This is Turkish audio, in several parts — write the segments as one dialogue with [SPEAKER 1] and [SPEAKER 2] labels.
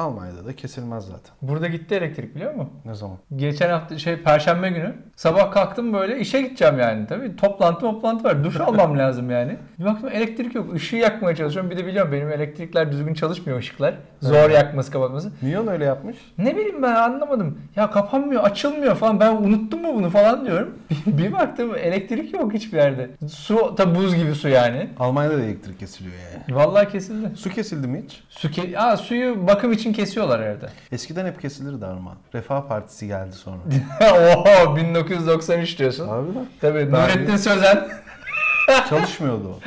[SPEAKER 1] Almanya'da da kesilmez zaten.
[SPEAKER 2] Burada gitti elektrik biliyor musun?
[SPEAKER 1] Ne zaman?
[SPEAKER 2] Geçen hafta şey perşembe günü sabah kalktım böyle işe gideceğim yani tabii toplantı toplantı var duş almam lazım yani. Bir baktım elektrik yok ışığı yakmaya çalışıyorum bir de biliyorum benim elektrikler düzgün çalışmıyor ışıklar zor yakması kapatması.
[SPEAKER 1] Neon öyle yapmış.
[SPEAKER 2] Ne bileyim ben anlamadım ya kapanmıyor açılmıyor falan ben unuttum mu bunu falan diyorum. bir baktım elektrik yok hiçbir yerde su tabi buz gibi su yani.
[SPEAKER 1] Almanya'da da elektrik kesiliyor yani.
[SPEAKER 2] Vallahi kesildi.
[SPEAKER 1] Su kesildi mi hiç?
[SPEAKER 2] Su ke- Aa, suyu bakım için kesiyorlar herhalde.
[SPEAKER 1] Eskiden hep kesilirdi Armağan. Refah Partisi geldi sonra.
[SPEAKER 2] Oho 1993 diyorsun.
[SPEAKER 1] Abi lan.
[SPEAKER 2] Tabii
[SPEAKER 1] Ben-
[SPEAKER 2] Nurettin Sözen.
[SPEAKER 1] Çalışmıyordu o.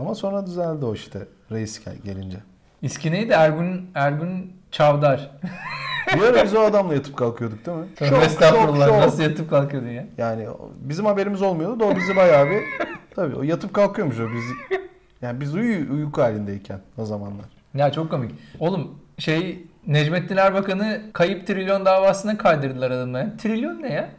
[SPEAKER 1] Ama sonra düzeldi o işte reis gel- gelince.
[SPEAKER 2] İSKİ neydi? Ergun, Ergun Çavdar.
[SPEAKER 1] Bir ara biz o adamla yatıp kalkıyorduk değil mi?
[SPEAKER 2] Tövbe estağfurullah nasıl yatıp kalkıyordun ya?
[SPEAKER 1] Yani o- bizim haberimiz olmuyordu da o bizi bayağı bir... Tabii o yatıp kalkıyormuş o biz. Yani biz uyu, uyku halindeyken o zamanlar.
[SPEAKER 2] Ya çok komik. Oğlum şey Necmettin Erbakan'ı kayıp trilyon davasına kaydırdılar adamlar. ya. Trilyon ne ya?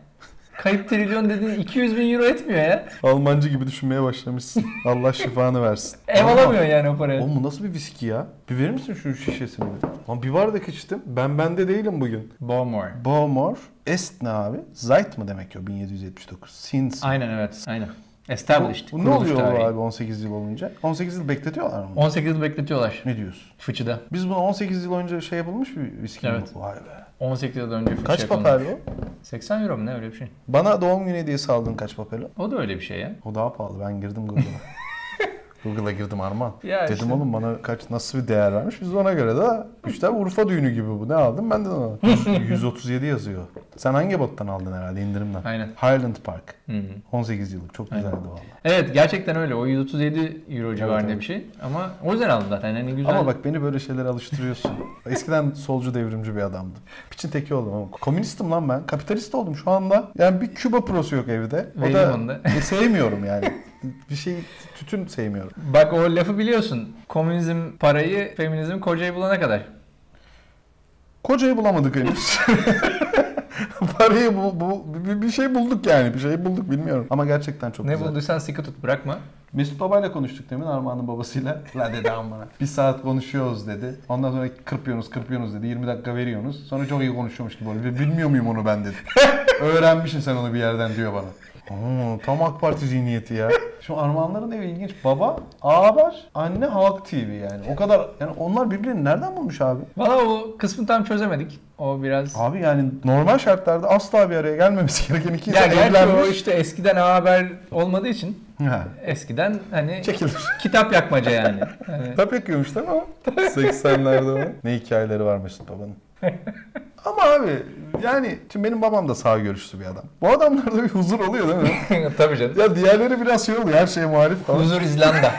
[SPEAKER 2] Kayıp trilyon dediğin 200 bin euro etmiyor ya.
[SPEAKER 1] Almancı gibi düşünmeye başlamışsın. Allah şifanı versin.
[SPEAKER 2] Ev alamıyor yani o parayı.
[SPEAKER 1] Oğlum bu nasıl bir viski ya? Bir verir misin şu şişesini? bir? Lan bir bardak içtim. Ben bende değilim bugün.
[SPEAKER 2] Bomor.
[SPEAKER 1] Baumor Est ne abi? Zayt mı demek o 1779? Since.
[SPEAKER 2] Aynen evet. Aynen.
[SPEAKER 1] Bu-
[SPEAKER 2] Established.
[SPEAKER 1] Bu ne
[SPEAKER 2] kuruluş
[SPEAKER 1] oluyor
[SPEAKER 2] tarihi.
[SPEAKER 1] abi 18 yıl olunca? 18 yıl bekletiyorlar mı?
[SPEAKER 2] 18 yıl bekletiyorlar.
[SPEAKER 1] Ne diyorsun?
[SPEAKER 2] Fıçıda.
[SPEAKER 1] Biz bunu 18 yıl önce şey yapılmış bir viski mi
[SPEAKER 2] Evet.
[SPEAKER 1] bu? Vay be.
[SPEAKER 2] 18 yıl önce fıçı
[SPEAKER 1] Kaç
[SPEAKER 2] yapılmış.
[SPEAKER 1] papel o?
[SPEAKER 2] 80 euro mu ne öyle bir şey.
[SPEAKER 1] Bana doğum günü hediyesi aldın kaç papeli?
[SPEAKER 2] O da öyle bir şey ya.
[SPEAKER 1] O daha pahalı. Ben girdim Google'a. Google'a girdim Arman.
[SPEAKER 2] Ya
[SPEAKER 1] Dedim
[SPEAKER 2] işte.
[SPEAKER 1] oğlum bana kaç nasıl bir değer vermiş. Biz ona göre de işte Urfa düğünü gibi bu. Ne aldım ben de ona. 137 yazıyor. Sen hangi bottan aldın herhalde indirimden?
[SPEAKER 2] Aynen.
[SPEAKER 1] Highland Park.
[SPEAKER 2] Hı hı.
[SPEAKER 1] 18 yıllık. Çok
[SPEAKER 2] Aynen.
[SPEAKER 1] güzeldi valla.
[SPEAKER 2] Evet gerçekten öyle. O 137 euro civarında
[SPEAKER 1] evet.
[SPEAKER 2] bir şey. Ama o yüzden aldım zaten. Hani güzel.
[SPEAKER 1] Ama bak beni böyle şeylere alıştırıyorsun. Eskiden solcu devrimci bir adamdım. Piçin teki oldum ama. Komünistim lan ben. Kapitalist oldum şu anda. Yani bir Küba prosu yok evde. O da
[SPEAKER 2] Weyman'da.
[SPEAKER 1] E, sevmiyorum yani. Bir şey tütün sevmiyorum.
[SPEAKER 2] Bak o lafı biliyorsun. Komünizm parayı, feminizm kocayı bulana kadar.
[SPEAKER 1] Kocayı bulamadık henüz. Parayı bu, bu bir- bir şey bulduk yani. Bir şey bulduk bilmiyorum. Ama gerçekten çok
[SPEAKER 2] ne
[SPEAKER 1] güzel.
[SPEAKER 2] bulduysan sıkı tut bırakma.
[SPEAKER 1] Mesut babayla konuştuk demin Armağan'ın babasıyla. La dedi bana. Bir saat konuşuyoruz dedi. Ondan sonra kırpıyorsunuz kırpıyorsunuz dedi. 20 dakika veriyorsunuz. Sonra çok iyi konuşuyormuş gibi oldu. Bilmiyor muyum onu ben dedi. Öğrenmişsin sen onu bir yerden diyor bana. Oo, tam AK Parti zihniyeti ya. Şu Armağanların evi ilginç. Baba A var, anne Halk TV yani. O kadar yani onlar birbirini nereden bulmuş abi?
[SPEAKER 2] Valla o kısmı tam çözemedik. O biraz...
[SPEAKER 1] Abi yani normal şartlarda asla bir araya gelmemesi gereken iki
[SPEAKER 2] ya
[SPEAKER 1] insan
[SPEAKER 2] gerçi o
[SPEAKER 1] evlenmiş.
[SPEAKER 2] işte eskiden A haber olmadığı için
[SPEAKER 1] Ha.
[SPEAKER 2] eskiden hani
[SPEAKER 1] Çekilir.
[SPEAKER 2] kitap yakmaca yani. Hani
[SPEAKER 1] Kitap yakıyormuş değil mi o? 80'lerde o. Ne hikayeleri var Mesut Baba'nın. Ama abi yani şimdi benim babam da sağ görüşlü bir adam. Bu adamlarda bir huzur oluyor değil mi?
[SPEAKER 2] Hani- Tabii canım.
[SPEAKER 1] ya diğerleri biraz şey oluyor her şeye muhalif falan.
[SPEAKER 2] Huzur İzlanda.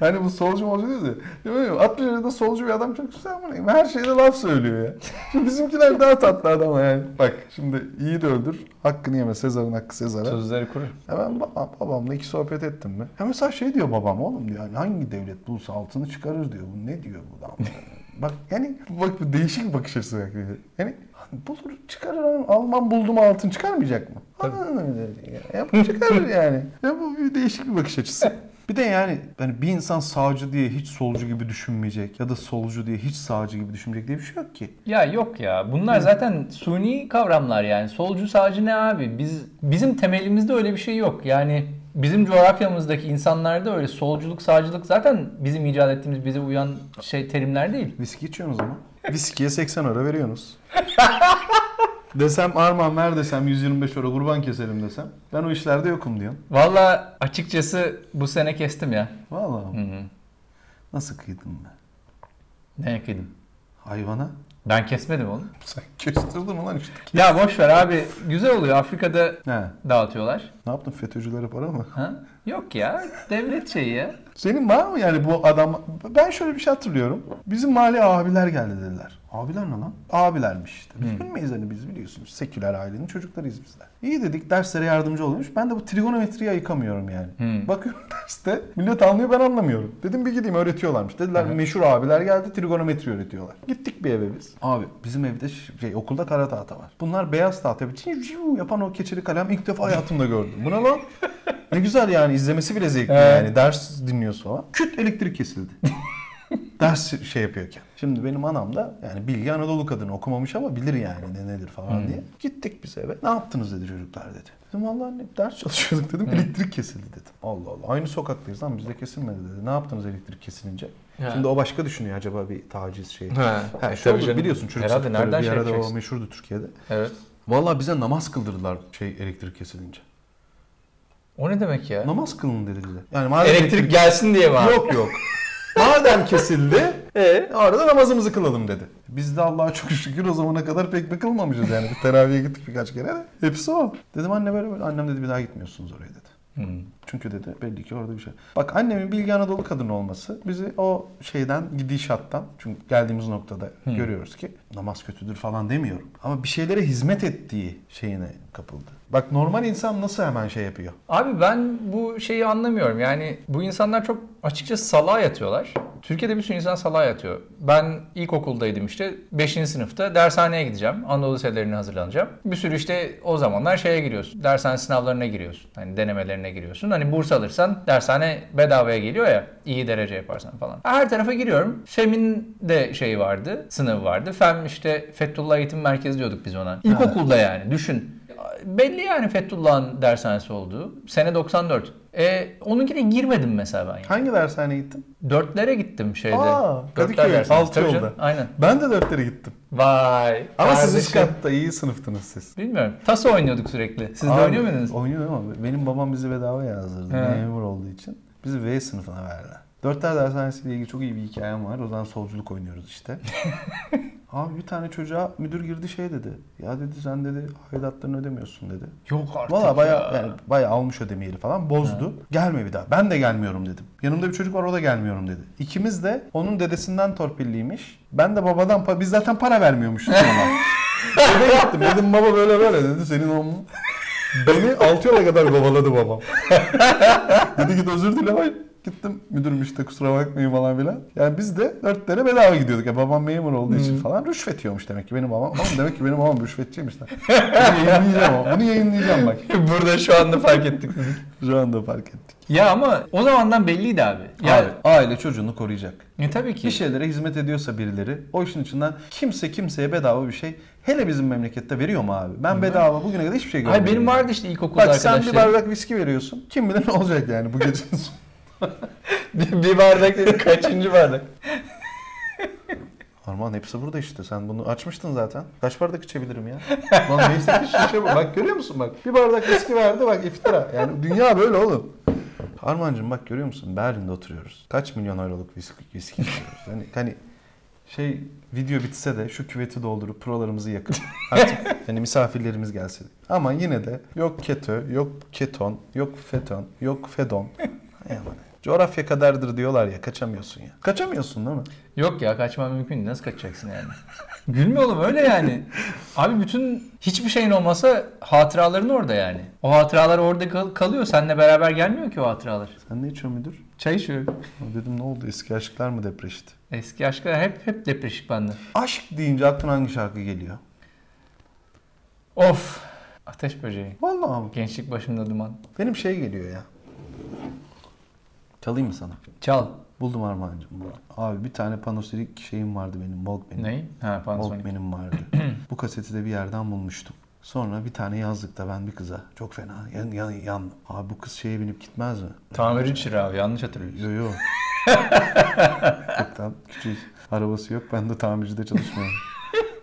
[SPEAKER 1] Hani bu solcu molcu diyor ya. Değil mi? 60 yaşında solcu bir adam çok güzel ama ne? her şeyde laf söylüyor ya. Şimdi bizimkiler daha tatlı adam yani. Bak şimdi iyi de öldür. Hakkını yeme Sezar'ın hakkı Sezar'a.
[SPEAKER 2] Tuzları kuru.
[SPEAKER 1] Hemen ba- babamla iki sohbet ettim mi? Ya mesela şey diyor babam oğlum diyor hani hangi devlet bulsa altını çıkarır diyor. Bu ne diyor bu da? Bak yani bak bu değişik bir bakış açısı bak. Yani bulur çıkarır hanım. Alman buldu mu altın çıkarmayacak mı? Anladın mı? Ya bu çıkarır yani. Ya bu bir değişik bir bakış açısı. Bir de yani hani bir insan sağcı diye hiç solcu gibi düşünmeyecek ya da solcu diye hiç sağcı gibi düşünmeyecek diye bir şey yok ki.
[SPEAKER 2] Ya yok ya. Bunlar zaten suni kavramlar yani. Solcu sağcı ne abi? Biz bizim temelimizde öyle bir şey yok. Yani bizim coğrafyamızdaki insanlarda öyle solculuk sağcılık zaten bizim icat ettiğimiz bize uyan şey terimler değil.
[SPEAKER 1] Viski içiyorsunuz ama. Viskiye 80 euro veriyorsunuz. desem Arman ver desem 125 euro kurban keselim desem. Ben o işlerde yokum diyorsun.
[SPEAKER 2] Valla açıkçası bu sene kestim ya.
[SPEAKER 1] Vallahi
[SPEAKER 2] Hı hı.
[SPEAKER 1] nasıl kıydın be?
[SPEAKER 2] Ne ekledim?
[SPEAKER 1] Hayvana.
[SPEAKER 2] Ben kesmedim oğlum.
[SPEAKER 1] Sen kestirdin ulan işte.
[SPEAKER 2] Ya boş ver abi. Güzel oluyor. Afrika'da
[SPEAKER 1] He.
[SPEAKER 2] dağıtıyorlar.
[SPEAKER 1] Ne yaptın FETÖ'cülere para mı?
[SPEAKER 2] Ha? Yok ya. Devlet şeyi ya.
[SPEAKER 1] Senin var mı yani bu adam? Ben şöyle bir şey hatırlıyorum. Bizim mahalle abiler geldi dediler. Abiler ne lan? Abilermiş işte. Biz bilmeyiz hani biz biliyorsunuz. Seküler ailenin çocuklarıyız bizler. İyi dedik derslere yardımcı olmuş. Ben de bu trigonometriyi ayıkamıyorum yani.
[SPEAKER 2] Hmm.
[SPEAKER 1] Bakıyorum derste millet anlıyor ben anlamıyorum. Dedim bir gideyim öğretiyorlarmış. Dediler meşhur abiler geldi trigonometri öğretiyorlar. Gittik bir eve biz. Abi bizim evde ş- şey okulda kara tahta var. Bunlar beyaz tahta bir ciu ciu yapan o keçeli kalem ilk defa hayatımda gördüm. Bu ne lan? Ne güzel yani izlemesi bile zevkli
[SPEAKER 2] Evet.
[SPEAKER 1] yani ders dinliyorsun falan. Küt elektrik kesildi. ders şey yapıyorken. Şimdi benim anam da yani bilgi Anadolu kadını okumamış ama bilir yani ne nedir falan diye. Gittik biz eve. Ne yaptınız dedi çocuklar dedi. Dedim vallahi anne ders çalışıyorduk dedim. Elektrik kesildi dedim. Allah Allah aynı sokaktayız lan bizde kesilmedi dedi. Ne yaptınız elektrik kesilince?
[SPEAKER 2] He.
[SPEAKER 1] Şimdi o başka düşünüyor acaba bir taciz şeyi.
[SPEAKER 2] He.
[SPEAKER 1] Ha,
[SPEAKER 2] E,
[SPEAKER 1] şu
[SPEAKER 2] tabii
[SPEAKER 1] olur,
[SPEAKER 2] canım.
[SPEAKER 1] biliyorsun çocuk
[SPEAKER 2] Herhalde
[SPEAKER 1] sapıkları
[SPEAKER 2] nereden
[SPEAKER 1] bir
[SPEAKER 2] şey
[SPEAKER 1] arada o
[SPEAKER 2] yapacaksın?
[SPEAKER 1] meşhurdu Türkiye'de.
[SPEAKER 2] Evet.
[SPEAKER 1] Vallahi bize namaz kıldırdılar şey elektrik kesilince.
[SPEAKER 2] O ne demek ya?
[SPEAKER 1] Namaz kılın dedi bize. Yani madem
[SPEAKER 2] Elektrik gelsin diye mi abi?
[SPEAKER 1] Yok yok. Madem kesildi,
[SPEAKER 2] E?
[SPEAKER 1] arada namazımızı kılalım dedi. Biz de Allah'a çok şükür o zamana kadar pek bir kılmamışız yani. Bir teraviye gittik birkaç kere de. Hepsi o. Dedim anne böyle böyle. Annem dedi bir daha gitmiyorsunuz oraya dedi.
[SPEAKER 2] Hmm.
[SPEAKER 1] Çünkü dedi belli ki orada bir şey. Bak annemin Bilge Anadolu kadın olması bizi o şeyden gidişattan çünkü geldiğimiz noktada görüyoruz ki namaz kötüdür falan demiyorum. Ama bir şeylere hizmet ettiği şeyine kapıldı. Bak normal insan nasıl hemen şey yapıyor?
[SPEAKER 2] Abi ben bu şeyi anlamıyorum. Yani bu insanlar çok açıkça salağa yatıyorlar. Türkiye'de bir sürü insan salağa yatıyor. Ben ilkokuldaydım işte 5. sınıfta dershaneye gideceğim. Anadolu liselerine hazırlanacağım. Bir sürü işte o zamanlar şeye giriyorsun. Dershane sınavlarına giriyorsun. Hani denemelerine giriyorsun. Hani burs alırsan dershane bedavaya geliyor ya. iyi derece yaparsan falan. Her tarafa giriyorum. FEM'in de şeyi vardı. Sınavı vardı. FEM işte Fethullah Eğitim Merkezi diyorduk biz ona. İlkokulda yani düşün. Belli yani Fethullah'ın dershanesi olduğu. Sene 94. E, onunkine girmedim mesela ben. Yani.
[SPEAKER 1] Hangi dershaneye gittin?
[SPEAKER 2] Dörtlere gittim şeyde.
[SPEAKER 1] Aa,
[SPEAKER 2] Dörtler
[SPEAKER 1] Kadıköy,
[SPEAKER 2] dershanesi.
[SPEAKER 1] altı
[SPEAKER 2] Tabii
[SPEAKER 1] yolda.
[SPEAKER 2] canım, Aynen.
[SPEAKER 1] Ben de dörtlere gittim.
[SPEAKER 2] Vay.
[SPEAKER 1] Ama siz
[SPEAKER 2] kardeşim.
[SPEAKER 1] üst katta iyi sınıftınız siz.
[SPEAKER 2] Bilmiyorum. Taso oynuyorduk sürekli. Siz
[SPEAKER 1] Abi,
[SPEAKER 2] de oynuyor muydunuz?
[SPEAKER 1] Oynuyordum ama benim babam bizi bedava yazdırdı.
[SPEAKER 2] He.
[SPEAKER 1] Memur olduğu için. Bizi V sınıfına verdiler. Dörtler dershanesiyle ilgili çok iyi bir hikayem var. O zaman solculuk oynuyoruz işte. Abi bir tane çocuğa müdür girdi şey dedi. Ya dedi sen dedi aidatlarını ödemiyorsun dedi.
[SPEAKER 2] Yok artık
[SPEAKER 1] Valla baya
[SPEAKER 2] ya.
[SPEAKER 1] yani baya almış ödemeyi falan bozdu. Gelme bir daha. Ben de gelmiyorum dedim. Yanımda bir çocuk var o da gelmiyorum dedi. İkimiz de onun dedesinden torpilliymiş. Ben de babadan pa- biz zaten para vermiyormuşuz ona. Eve gittim dedim baba böyle böyle dedi senin o Beni altı yola kadar kovaladı babam. dedi git özür dile bay. Gittim müdürüm işte kusura bakmayın falan filan. Yani biz de dörtlere bedava gidiyorduk. Ya babam memur olduğu için falan rüşvet yiyormuş demek ki benim babam. Oğlum demek ki benim babam rüşvetçiymiş lan. Bunu yayınlayacağım ama. Bunu yayınlayacağım bak.
[SPEAKER 2] Burada şu anda fark ettik.
[SPEAKER 1] Şu anda fark ettik.
[SPEAKER 2] ya ama o zamandan belliydi abi. Ya,
[SPEAKER 1] Abi, aile çocuğunu koruyacak.
[SPEAKER 2] E, tabii ki.
[SPEAKER 1] Bir şey şeylere hizmet ediyorsa birileri o işin içinden kimse kimseye bedava bir şey hele bizim memlekette veriyor mu abi? Ben bedava bugüne kadar hiçbir şey görmedim.
[SPEAKER 2] Hayır benim
[SPEAKER 1] yani.
[SPEAKER 2] vardı işte ilkokulda
[SPEAKER 1] Bak sen
[SPEAKER 2] arkadaşlarım.
[SPEAKER 1] bir bardak viski veriyorsun. Kim bilir ne olacak yani bu gecenin sonu.
[SPEAKER 2] bir, bir bardak dedi kaçıncı bardak?
[SPEAKER 1] Armağan hepsi burada işte. Sen bunu açmıştın zaten. Kaç bardak içebilirim ya? Lan neyse ki şişe bu. Bak görüyor musun bak. Bir bardak viski verdi bak iftira. Yani dünya böyle oğlum. Armancığım bak görüyor musun? Berlin'de oturuyoruz. Kaç milyon euroluk viski, viski içiyoruz. Hani, hani şey video bitse de şu küveti doldurup prolarımızı yakıp artık yani misafirlerimiz gelse de. Ama yine de yok keto, yok keton, yok feton, yok fedon. Hay aman. Coğrafya kadardır diyorlar ya kaçamıyorsun ya. Kaçamıyorsun değil mi?
[SPEAKER 2] Yok ya kaçman mümkün değil. Nasıl kaçacaksın yani? Gülme oğlum öyle yani. Abi bütün hiçbir şeyin olmasa hatıraların orada yani. O hatıralar orada kal- kalıyor. Seninle beraber gelmiyor ki o hatıralar.
[SPEAKER 1] Sen ne içiyorsun müdür?
[SPEAKER 2] Çay içiyorum.
[SPEAKER 1] Ya Dedim ne oldu eski aşklar mı depreşti?
[SPEAKER 2] Eski aşklar hep hep depreşik bende.
[SPEAKER 1] Aşk deyince aklına hangi şarkı geliyor?
[SPEAKER 2] Of. Ateş böceği.
[SPEAKER 1] Vallahi abi.
[SPEAKER 2] Gençlik başımda duman.
[SPEAKER 1] Benim şey geliyor ya. Çalayım mı sana?
[SPEAKER 2] Çal.
[SPEAKER 1] Buldum Armağan'cığım. buldum. Abi bir tane panoselik şeyim vardı benim. Walkman'im.
[SPEAKER 2] Neyi? Ha Panasonic.
[SPEAKER 1] Walkman'im vardı. Bu kaseti de bir yerden bulmuştum. Sonra bir tane yazdık da ben bir kıza. Çok fena. Yan, yan, yan. Abi bu kız şeye binip gitmez mi?
[SPEAKER 2] Tamirci çırağı yanlış hatırlıyorum.
[SPEAKER 1] Yo yo. Yok, tam küçük. Arabası yok. Ben de tamircide çalışmıyorum.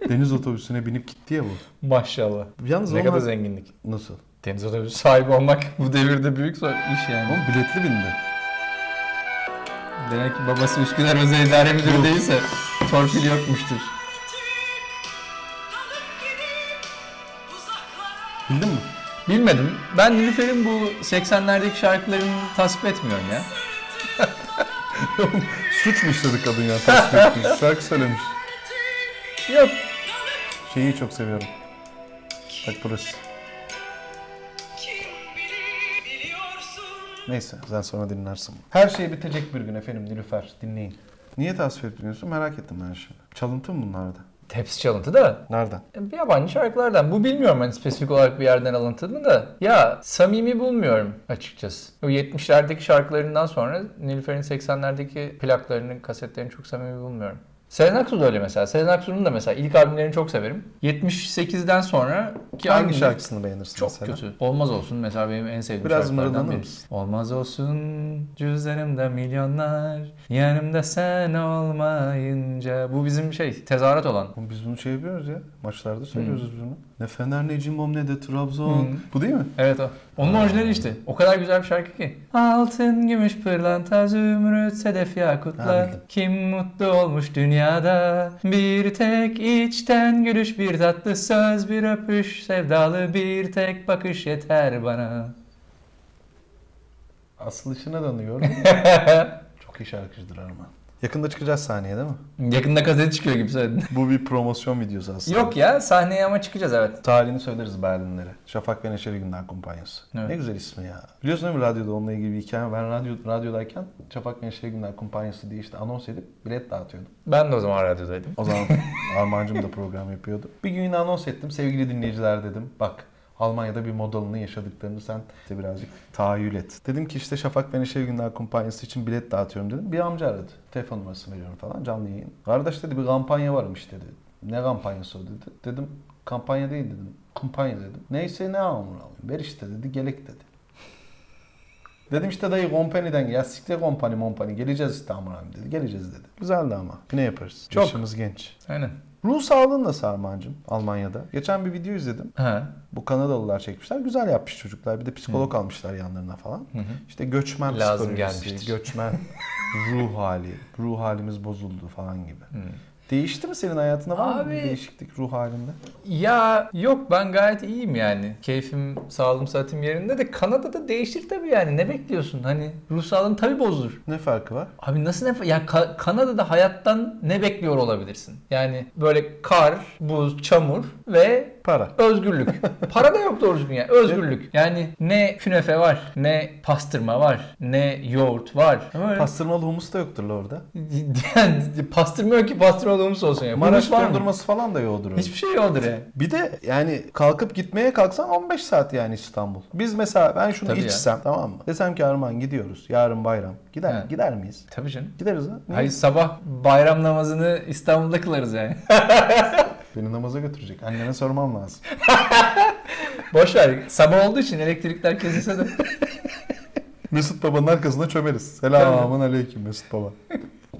[SPEAKER 1] Deniz otobüsüne binip gitti ya bu.
[SPEAKER 2] Maşallah.
[SPEAKER 1] Yalnız
[SPEAKER 2] Ne
[SPEAKER 1] onlar-
[SPEAKER 2] kadar zenginlik.
[SPEAKER 1] Nasıl?
[SPEAKER 2] Deniz otobüsü sahibi olmak bu devirde büyük zor iş yani.
[SPEAKER 1] Oğlum biletli bindi.
[SPEAKER 2] Demek ki babası Üsküdar Özel İdare Müdürü değilse torpil yokmuştur.
[SPEAKER 1] Bildin mi?
[SPEAKER 2] Bilmedim. Ben Nilüfer'in bu 80'lerdeki şarkılarını tasvip etmiyorum ya.
[SPEAKER 1] Suç mu işledi kadın ya? Tasvip etmiş. Şarkı söylemiş.
[SPEAKER 2] Yok.
[SPEAKER 1] Şeyi çok seviyorum. Bak burası. Neyse sen sonra dinlersin. Her şey bitecek bir gün efendim Nilüfer. Dinleyin. Niye tasvip etmiyorsun merak ettim ben şimdi. Çalıntı mı bunlarda?
[SPEAKER 2] Hepsi çalıntı da
[SPEAKER 1] Nereden?
[SPEAKER 2] bir yabancı şarkılardan. Bu bilmiyorum hani spesifik olarak bir yerden alıntı mı da. Ya samimi bulmuyorum açıkçası. O 70'lerdeki şarkılarından sonra Nilüfer'in 80'lerdeki plaklarını, kasetlerini çok samimi bulmuyorum. Sezen Aksu da öyle mesela. Sezen Aksu'nun da mesela ilk albümlerini çok severim. 78'den sonra ki
[SPEAKER 1] Hangi
[SPEAKER 2] albüm-
[SPEAKER 1] şarkısını beğenirsin
[SPEAKER 2] çok
[SPEAKER 1] mesela?
[SPEAKER 2] kötü. Olmaz olsun mesela benim en sevdiğim
[SPEAKER 1] Biraz
[SPEAKER 2] şarkılardan
[SPEAKER 1] mırıldanır
[SPEAKER 2] biri.
[SPEAKER 1] mısın?
[SPEAKER 2] Olmaz olsun cüzdanımda milyonlar yanımda sen olmayınca. Bu bizim şey tezahürat olan.
[SPEAKER 1] Oğlum Biz bunu şey yapıyoruz ya. Maçlarda söylüyoruz biz bunu. Ne Fener ne Cimbom ne de Trabzon.
[SPEAKER 2] Hı.
[SPEAKER 1] Bu değil mi?
[SPEAKER 2] Evet o. Onun orijinali işte. O kadar güzel bir şarkı ki. Altın, gümüş, pırlanta, zümrüt, sedef,
[SPEAKER 1] Ha,
[SPEAKER 2] yakutlar.
[SPEAKER 1] bildim.
[SPEAKER 2] Kim mutlu olmuş dünyada? Bir tek içten gülüş, bir tatlı söz, bir öpüş, sevdalı bir tek bakış yeter bana.
[SPEAKER 1] Asıl işine dönüyor. Çok iyi şarkıcıdır Arman. Yakında çıkacağız sahneye değil mi?
[SPEAKER 2] Yakında gazete çıkıyor gibi söyledin.
[SPEAKER 1] Bu bir promosyon videosu aslında.
[SPEAKER 2] Yok ya sahneye ama çıkacağız evet.
[SPEAKER 1] Tarihini söyleriz Berlinlere. Şafak ve Neşeli Günler Kumpanyası.
[SPEAKER 2] Evet.
[SPEAKER 1] Ne güzel ismi ya. Biliyorsun değil mi radyoda onunla ilgili bir hikaye? Ben radyo, radyodayken Şafak ve Neşeli Günler Kumpanyası diye işte anons edip bilet dağıtıyordum.
[SPEAKER 2] Ben de o zaman radyodaydım.
[SPEAKER 1] O zaman Armancım da program yapıyordu. Bir gün yine anons ettim. Sevgili dinleyiciler dedim. Bak Almanya'da bir modalını yaşadıklarını sen de birazcık tahayyül et. Dedim ki işte Şafak ve Neşeli Günler Kumpanyası için bilet dağıtıyorum dedim. Bir amca aradı. Telefon numarasını veriyorum falan canlı yayın. Kardeş dedi bir kampanya varmış dedi. Ne kampanyası o dedi. Dedim kampanya değil dedim. Kumpanya dedim. Neyse ne amına alayım. Ver işte dedi gelek dedi. Dedim işte dayı kompaniden ya siktir kompani kompani geleceğiz işte amına koyayım dedi. Geleceğiz dedi. Güzeldi ama. Yine yaparız.
[SPEAKER 2] Çok.
[SPEAKER 1] Yaşımız genç.
[SPEAKER 2] Aynen.
[SPEAKER 1] Ruh sağlığında sarmancım Almanya'da. Geçen bir video izledim.
[SPEAKER 2] Ha.
[SPEAKER 1] Bu Kanadalılar çekmişler. Güzel yapmış çocuklar. Bir de psikolog almışlar yanlarına falan.
[SPEAKER 2] Hı hı.
[SPEAKER 1] İşte göçmen
[SPEAKER 2] Lazım
[SPEAKER 1] psikolojisi,
[SPEAKER 2] gelmiştir.
[SPEAKER 1] göçmen ruh hali, ruh halimiz bozuldu falan gibi. Değişti mi senin hayatında var mı bir
[SPEAKER 2] Abi-
[SPEAKER 1] değişiklik ruh halinde?
[SPEAKER 2] Ya yok ben gayet iyiyim yani. Keyfim, sağlığım, saatim yerinde de Kanada'da değişir tabii yani. Ne bekliyorsun? Hani ruh sağlığın tabii bozulur.
[SPEAKER 1] Ne farkı var?
[SPEAKER 2] Abi nasıl ne... Yani Ka- Kanada'da hayattan ne bekliyor olabilirsin? Yani böyle kar, buz, çamur ve
[SPEAKER 1] Para.
[SPEAKER 2] Özgürlük. Para da yok doğru düzgün yani. Özgürlük. Yani ne künefe var, ne pastırma var, ne yoğurt var. Ama öyle-
[SPEAKER 1] Pastırmalı humus da yoktur la orada.
[SPEAKER 2] yani pastırma yok ki pastırmalı humus olsun ya.
[SPEAKER 1] Maraş
[SPEAKER 2] Maraş var mı?
[SPEAKER 1] dondurması falan da yoğdur orada.
[SPEAKER 2] Hiçbir şey yoktur yani.
[SPEAKER 1] Bir de yani kalkıp gitmeye kalksan 15 saat yani İstanbul. Biz mesela ben şunu
[SPEAKER 2] Tabii ya.
[SPEAKER 1] içsem tamam mı? Desem ki Arman gidiyoruz yarın bayram. Gider
[SPEAKER 2] Evet.
[SPEAKER 1] gider miyiz?
[SPEAKER 2] Tabii canım.
[SPEAKER 1] Gideriz ha. Niye?
[SPEAKER 2] Hayır sabah bayram namazını İstanbul'da kılarız yani.
[SPEAKER 1] Beni namaza götürecek. Annene sormam lazım.
[SPEAKER 2] Boş ver. Sabah olduğu için elektrikler kesilse de.
[SPEAKER 1] Mesut Baba'nın arkasına çömeriz. Selamun aleyküm Mesut Baba.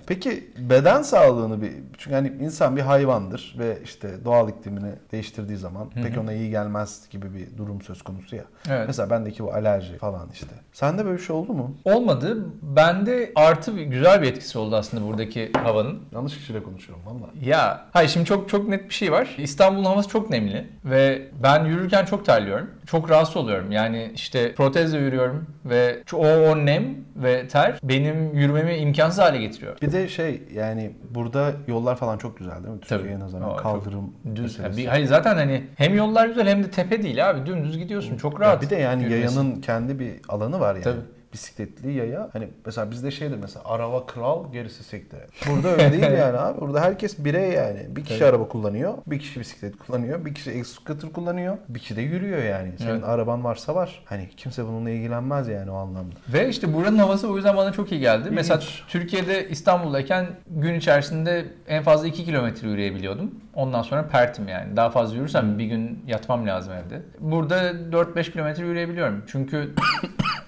[SPEAKER 1] Peki beden sağlığını bir çünkü hani insan bir hayvandır ve işte doğal iklimini değiştirdiği zaman pek ona iyi gelmez gibi bir durum söz konusu ya.
[SPEAKER 2] Evet.
[SPEAKER 1] Mesela bendeki bu alerji falan işte. Sende böyle bir şey oldu mu?
[SPEAKER 2] Olmadı. Bende artı bir, güzel bir etkisi oldu aslında buradaki havanın.
[SPEAKER 1] Yanlış kişiyle konuşuyorum valla.
[SPEAKER 2] Ya hayır şimdi çok çok net bir şey var. İstanbul'un havası çok nemli ve ben yürürken çok terliyorum. Çok rahatsız oluyorum. Yani işte protezle yürüyorum ve ço- o, o nem ve ter benim yürümemi imkansız hale getiriyor.
[SPEAKER 1] Bir de şey yani burada yollar falan çok güzel değil mi? Türkiye'ye nazaran
[SPEAKER 2] Aa, çok
[SPEAKER 1] kaldırım
[SPEAKER 2] Düz.
[SPEAKER 1] meselesi.
[SPEAKER 2] Ya bir- hayır zaten hani hem yollar güzel hem de tepe değil abi. Dümdüz gidiyorsun. Çok
[SPEAKER 1] Ya
[SPEAKER 2] rahat.
[SPEAKER 1] bir de yani
[SPEAKER 2] yürümesi.
[SPEAKER 1] yayanın kendi bir alanı var yani.
[SPEAKER 2] Tabii.
[SPEAKER 1] Bisikletli yaya. Hani mesela bizde şeydir mesela araba kral gerisi sekte. Burada öyle değil yani abi. Burada herkes birey yani. Bir kişi araba kullanıyor, bir kişi bisiklet kullanıyor, bir kişi scooter kullanıyor, bir kişi de yürüyor yani. Senin
[SPEAKER 2] Evet.
[SPEAKER 1] araban varsa var. Hani kimse bununla ilgilenmez yani o anlamda.
[SPEAKER 2] Ve işte buranın havası o yüzden bana çok iyi geldi. Mesela Türkiye'de İstanbul'dayken gün içerisinde en fazla 2 kilometre yürüyebiliyordum. Ondan sonra pertim yani. Daha fazla yürürsem bir gün yatmam lazım evde. Burada 4-5 kilometre yürüyebiliyorum. Çünkü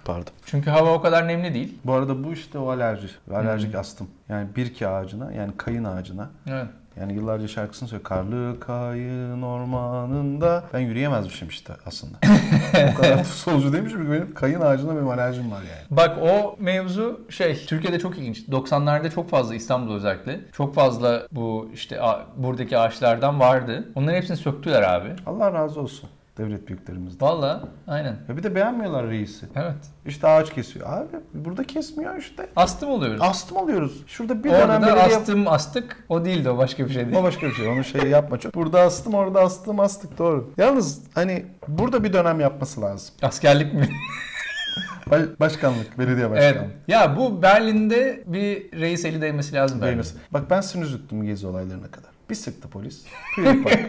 [SPEAKER 1] Pardon.
[SPEAKER 2] çünkü hava o kadar nemli değil.
[SPEAKER 1] Bu arada bu işte o alerji. Alerjik astım. Yani birki ağacına yani kayın ağacına
[SPEAKER 2] Evet.
[SPEAKER 1] Yani yıllarca şarkısını söylüyor. Karlı kayın ormanında. Ben yürüyemezmişim işte aslında. o kadar solcu değilmişim ki benim kayın ağacına benim alerjim var yani.
[SPEAKER 2] Bak o mevzu şey Türkiye'de çok ilginç. 90'larda çok fazla İstanbul özellikle. Çok fazla bu işte a- buradaki ağaçlardan vardı. Onların hepsini söktüler abi.
[SPEAKER 1] Allah razı olsun devlet büyüklerimizden.
[SPEAKER 2] Valla aynen.
[SPEAKER 1] Ya bir de beğenmiyorlar reisi.
[SPEAKER 2] Evet.
[SPEAKER 1] İşte ağaç kesiyor. Abi burada kesmiyor işte.
[SPEAKER 2] Astım oluyoruz.
[SPEAKER 1] Astım alıyoruz. Şurada Ah, bir
[SPEAKER 2] Orada
[SPEAKER 1] dönem
[SPEAKER 2] da
[SPEAKER 1] belediye...
[SPEAKER 2] astım astık. O değildi o başka bir şeydi.
[SPEAKER 1] O başka bir şey. Onu şey yapma. Çok- Burada astım, orada astım, astık. Doğru. Yalnız hani burada bir dönem yapması lazım.
[SPEAKER 2] Askerlik mi?
[SPEAKER 1] Ba- Başkanlık, belediye
[SPEAKER 2] evet.
[SPEAKER 1] başkanlığı.
[SPEAKER 2] Ya bu Berlin'de bir reis eli değmesi lazım bence.
[SPEAKER 1] Değmesi. Bak ben sinüz gezi olaylarına kadar. Bir sıktı polis. Püyük bak.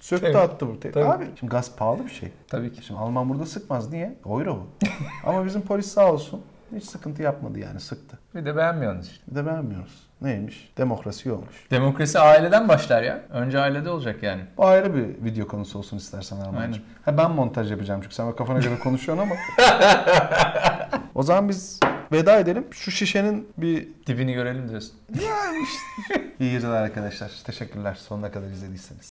[SPEAKER 1] Söktü
[SPEAKER 2] Tabii.
[SPEAKER 1] attı buraya.
[SPEAKER 2] Tabii.
[SPEAKER 1] Abi şimdi gaz pahalı bir şey.
[SPEAKER 2] Tabii ki.
[SPEAKER 1] Şimdi Alman burada sıkmaz. Niye? Euro bu. Ama bizim polis sağ olsun hiç sıkıntı yapmadı yani sıktı.
[SPEAKER 2] Bir de beğenmiyorsunuz işte.
[SPEAKER 1] Bir de beğenmiyoruz. Neymiş? Demokrasi olmuş.
[SPEAKER 2] Demokrasi aileden başlar ya. Önce ailede olacak yani.
[SPEAKER 1] Bu ayrı bir video konusu olsun istersen Armancığım. Ha ben montaj yapacağım çünkü sen bak kafana göre konuşuyorsun ama. o zaman biz veda edelim. Şu şişenin bir...
[SPEAKER 2] Dibini görelim diyorsun.
[SPEAKER 1] İyi geceler arkadaşlar. Teşekkürler sonuna kadar izlediyseniz.